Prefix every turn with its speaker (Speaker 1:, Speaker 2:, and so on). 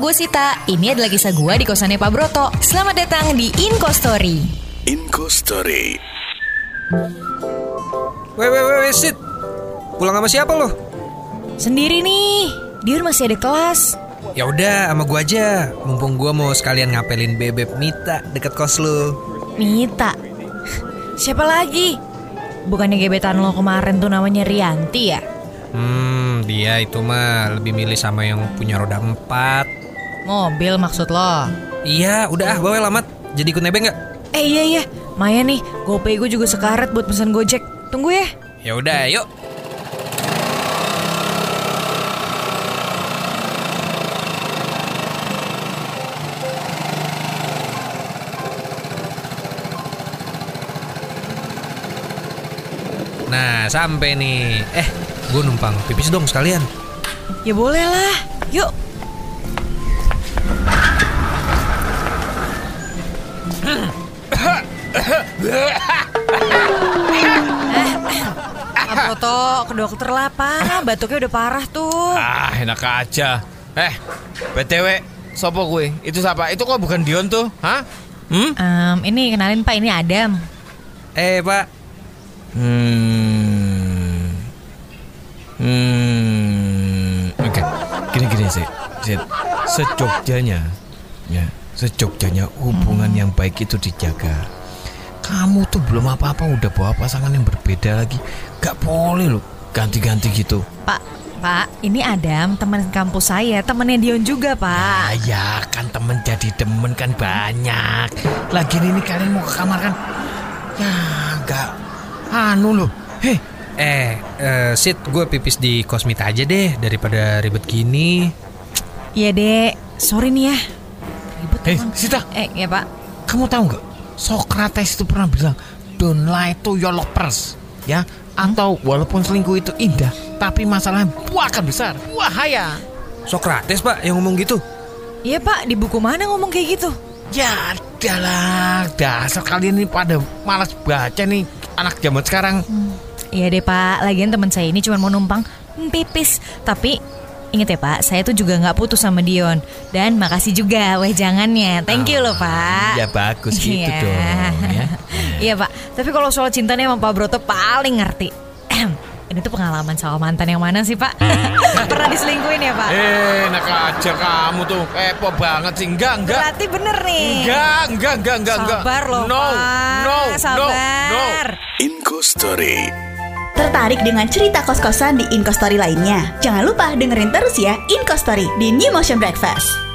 Speaker 1: gue Sita. Ini adalah kisah gue di kosannya Pak Broto. Selamat datang di Inko Story.
Speaker 2: Inco Story.
Speaker 3: Weh, weh, weh, weh, sit. Pulang sama siapa lo?
Speaker 1: Sendiri nih, Dion masih ada kelas.
Speaker 3: Ya udah, sama gua aja. Mumpung gua mau sekalian ngapelin bebek Mita deket kos lo.
Speaker 1: Mita. Siapa lagi? Bukannya gebetan lo kemarin tuh namanya Rianti ya?
Speaker 3: Hmm, dia itu mah lebih milih sama yang punya roda empat.
Speaker 1: Mobil maksud lo?
Speaker 3: Iya, udah ah, bawa lamat. Jadi ikut nebeng nggak?
Speaker 1: Eh iya iya, Maya nih, GoPay gue juga sekarat buat pesan Gojek. Tunggu ya.
Speaker 3: Ya udah, yuk. Nah, sampai nih. Eh, gue numpang pipis dong sekalian.
Speaker 1: Ya boleh lah. Yuk. Apa toh Eh, ke dokter lah pak Batuknya udah parah tuh
Speaker 4: Ah, enak aja. Eh, BTW, sopo gue? Itu siapa? Itu kok bukan Dion tuh? Hah? Hmm?
Speaker 1: Ini kenalin pak ini Adam
Speaker 3: Eh, Pak.
Speaker 4: Hmm. Hmm. Oke. Gini-gini sih. Sid. Sejogjanya. Ya, sejogjanya hubungan yang baik itu dijaga. Kamu tuh belum apa-apa udah bawa pasangan yang berbeda lagi. Gak boleh loh ganti-ganti gitu.
Speaker 1: Pak Pak ini Adam teman kampus saya Temennya Dion juga pak
Speaker 4: Ayah kan temen jadi demen kan banyak Lagian ini kalian mau ke kamar kan Ya enggak Anu loh Hei
Speaker 3: Eh, eh Sid, gue pipis di kos Mita aja deh daripada ribet gini.
Speaker 1: Iya dek Sorry nih ya Ribet
Speaker 4: Hei
Speaker 1: emang.
Speaker 4: Sita
Speaker 1: Eh ya pak
Speaker 4: Kamu tahu nggak Socrates itu pernah bilang Don't lie to your lovers Ya
Speaker 1: Hmm?
Speaker 4: Atau walaupun selingkuh itu indah Tapi masalahnya akan besar Wahaya
Speaker 3: Sokrates, Pak, yang ngomong gitu.
Speaker 1: Iya pak di buku mana ngomong kayak gitu
Speaker 4: Ya adalah Dasar kalian ini pada malas baca nih Anak zaman sekarang
Speaker 1: Iya deh pak Lagian teman saya ini cuma mau numpang mm, Pipis Tapi Ingat ya pak, saya tuh juga nggak putus sama Dion Dan makasih juga wejangannya Thank you loh pak
Speaker 4: Ya bagus gitu
Speaker 1: Iya.
Speaker 4: dong ya.
Speaker 1: Iya pak, tapi kalau soal cintanya emang Pak Broto paling ngerti. Ahem. Ini tuh pengalaman sama mantan yang mana sih pak? Pernah diselingkuin ya pak?
Speaker 4: Eh, enak aja kamu tuh kepo banget sih. Enggak, enggak.
Speaker 1: Berarti bener nih.
Speaker 4: Enggak, enggak, enggak, enggak, enggak.
Speaker 1: Sabar loh
Speaker 4: no,
Speaker 1: pak.
Speaker 4: no, no,
Speaker 1: Sabar.
Speaker 4: no.
Speaker 2: Inco Story.
Speaker 5: Tertarik dengan cerita kos-kosan di Inkostory lainnya? Jangan lupa dengerin terus ya Inkostory di New Motion Breakfast.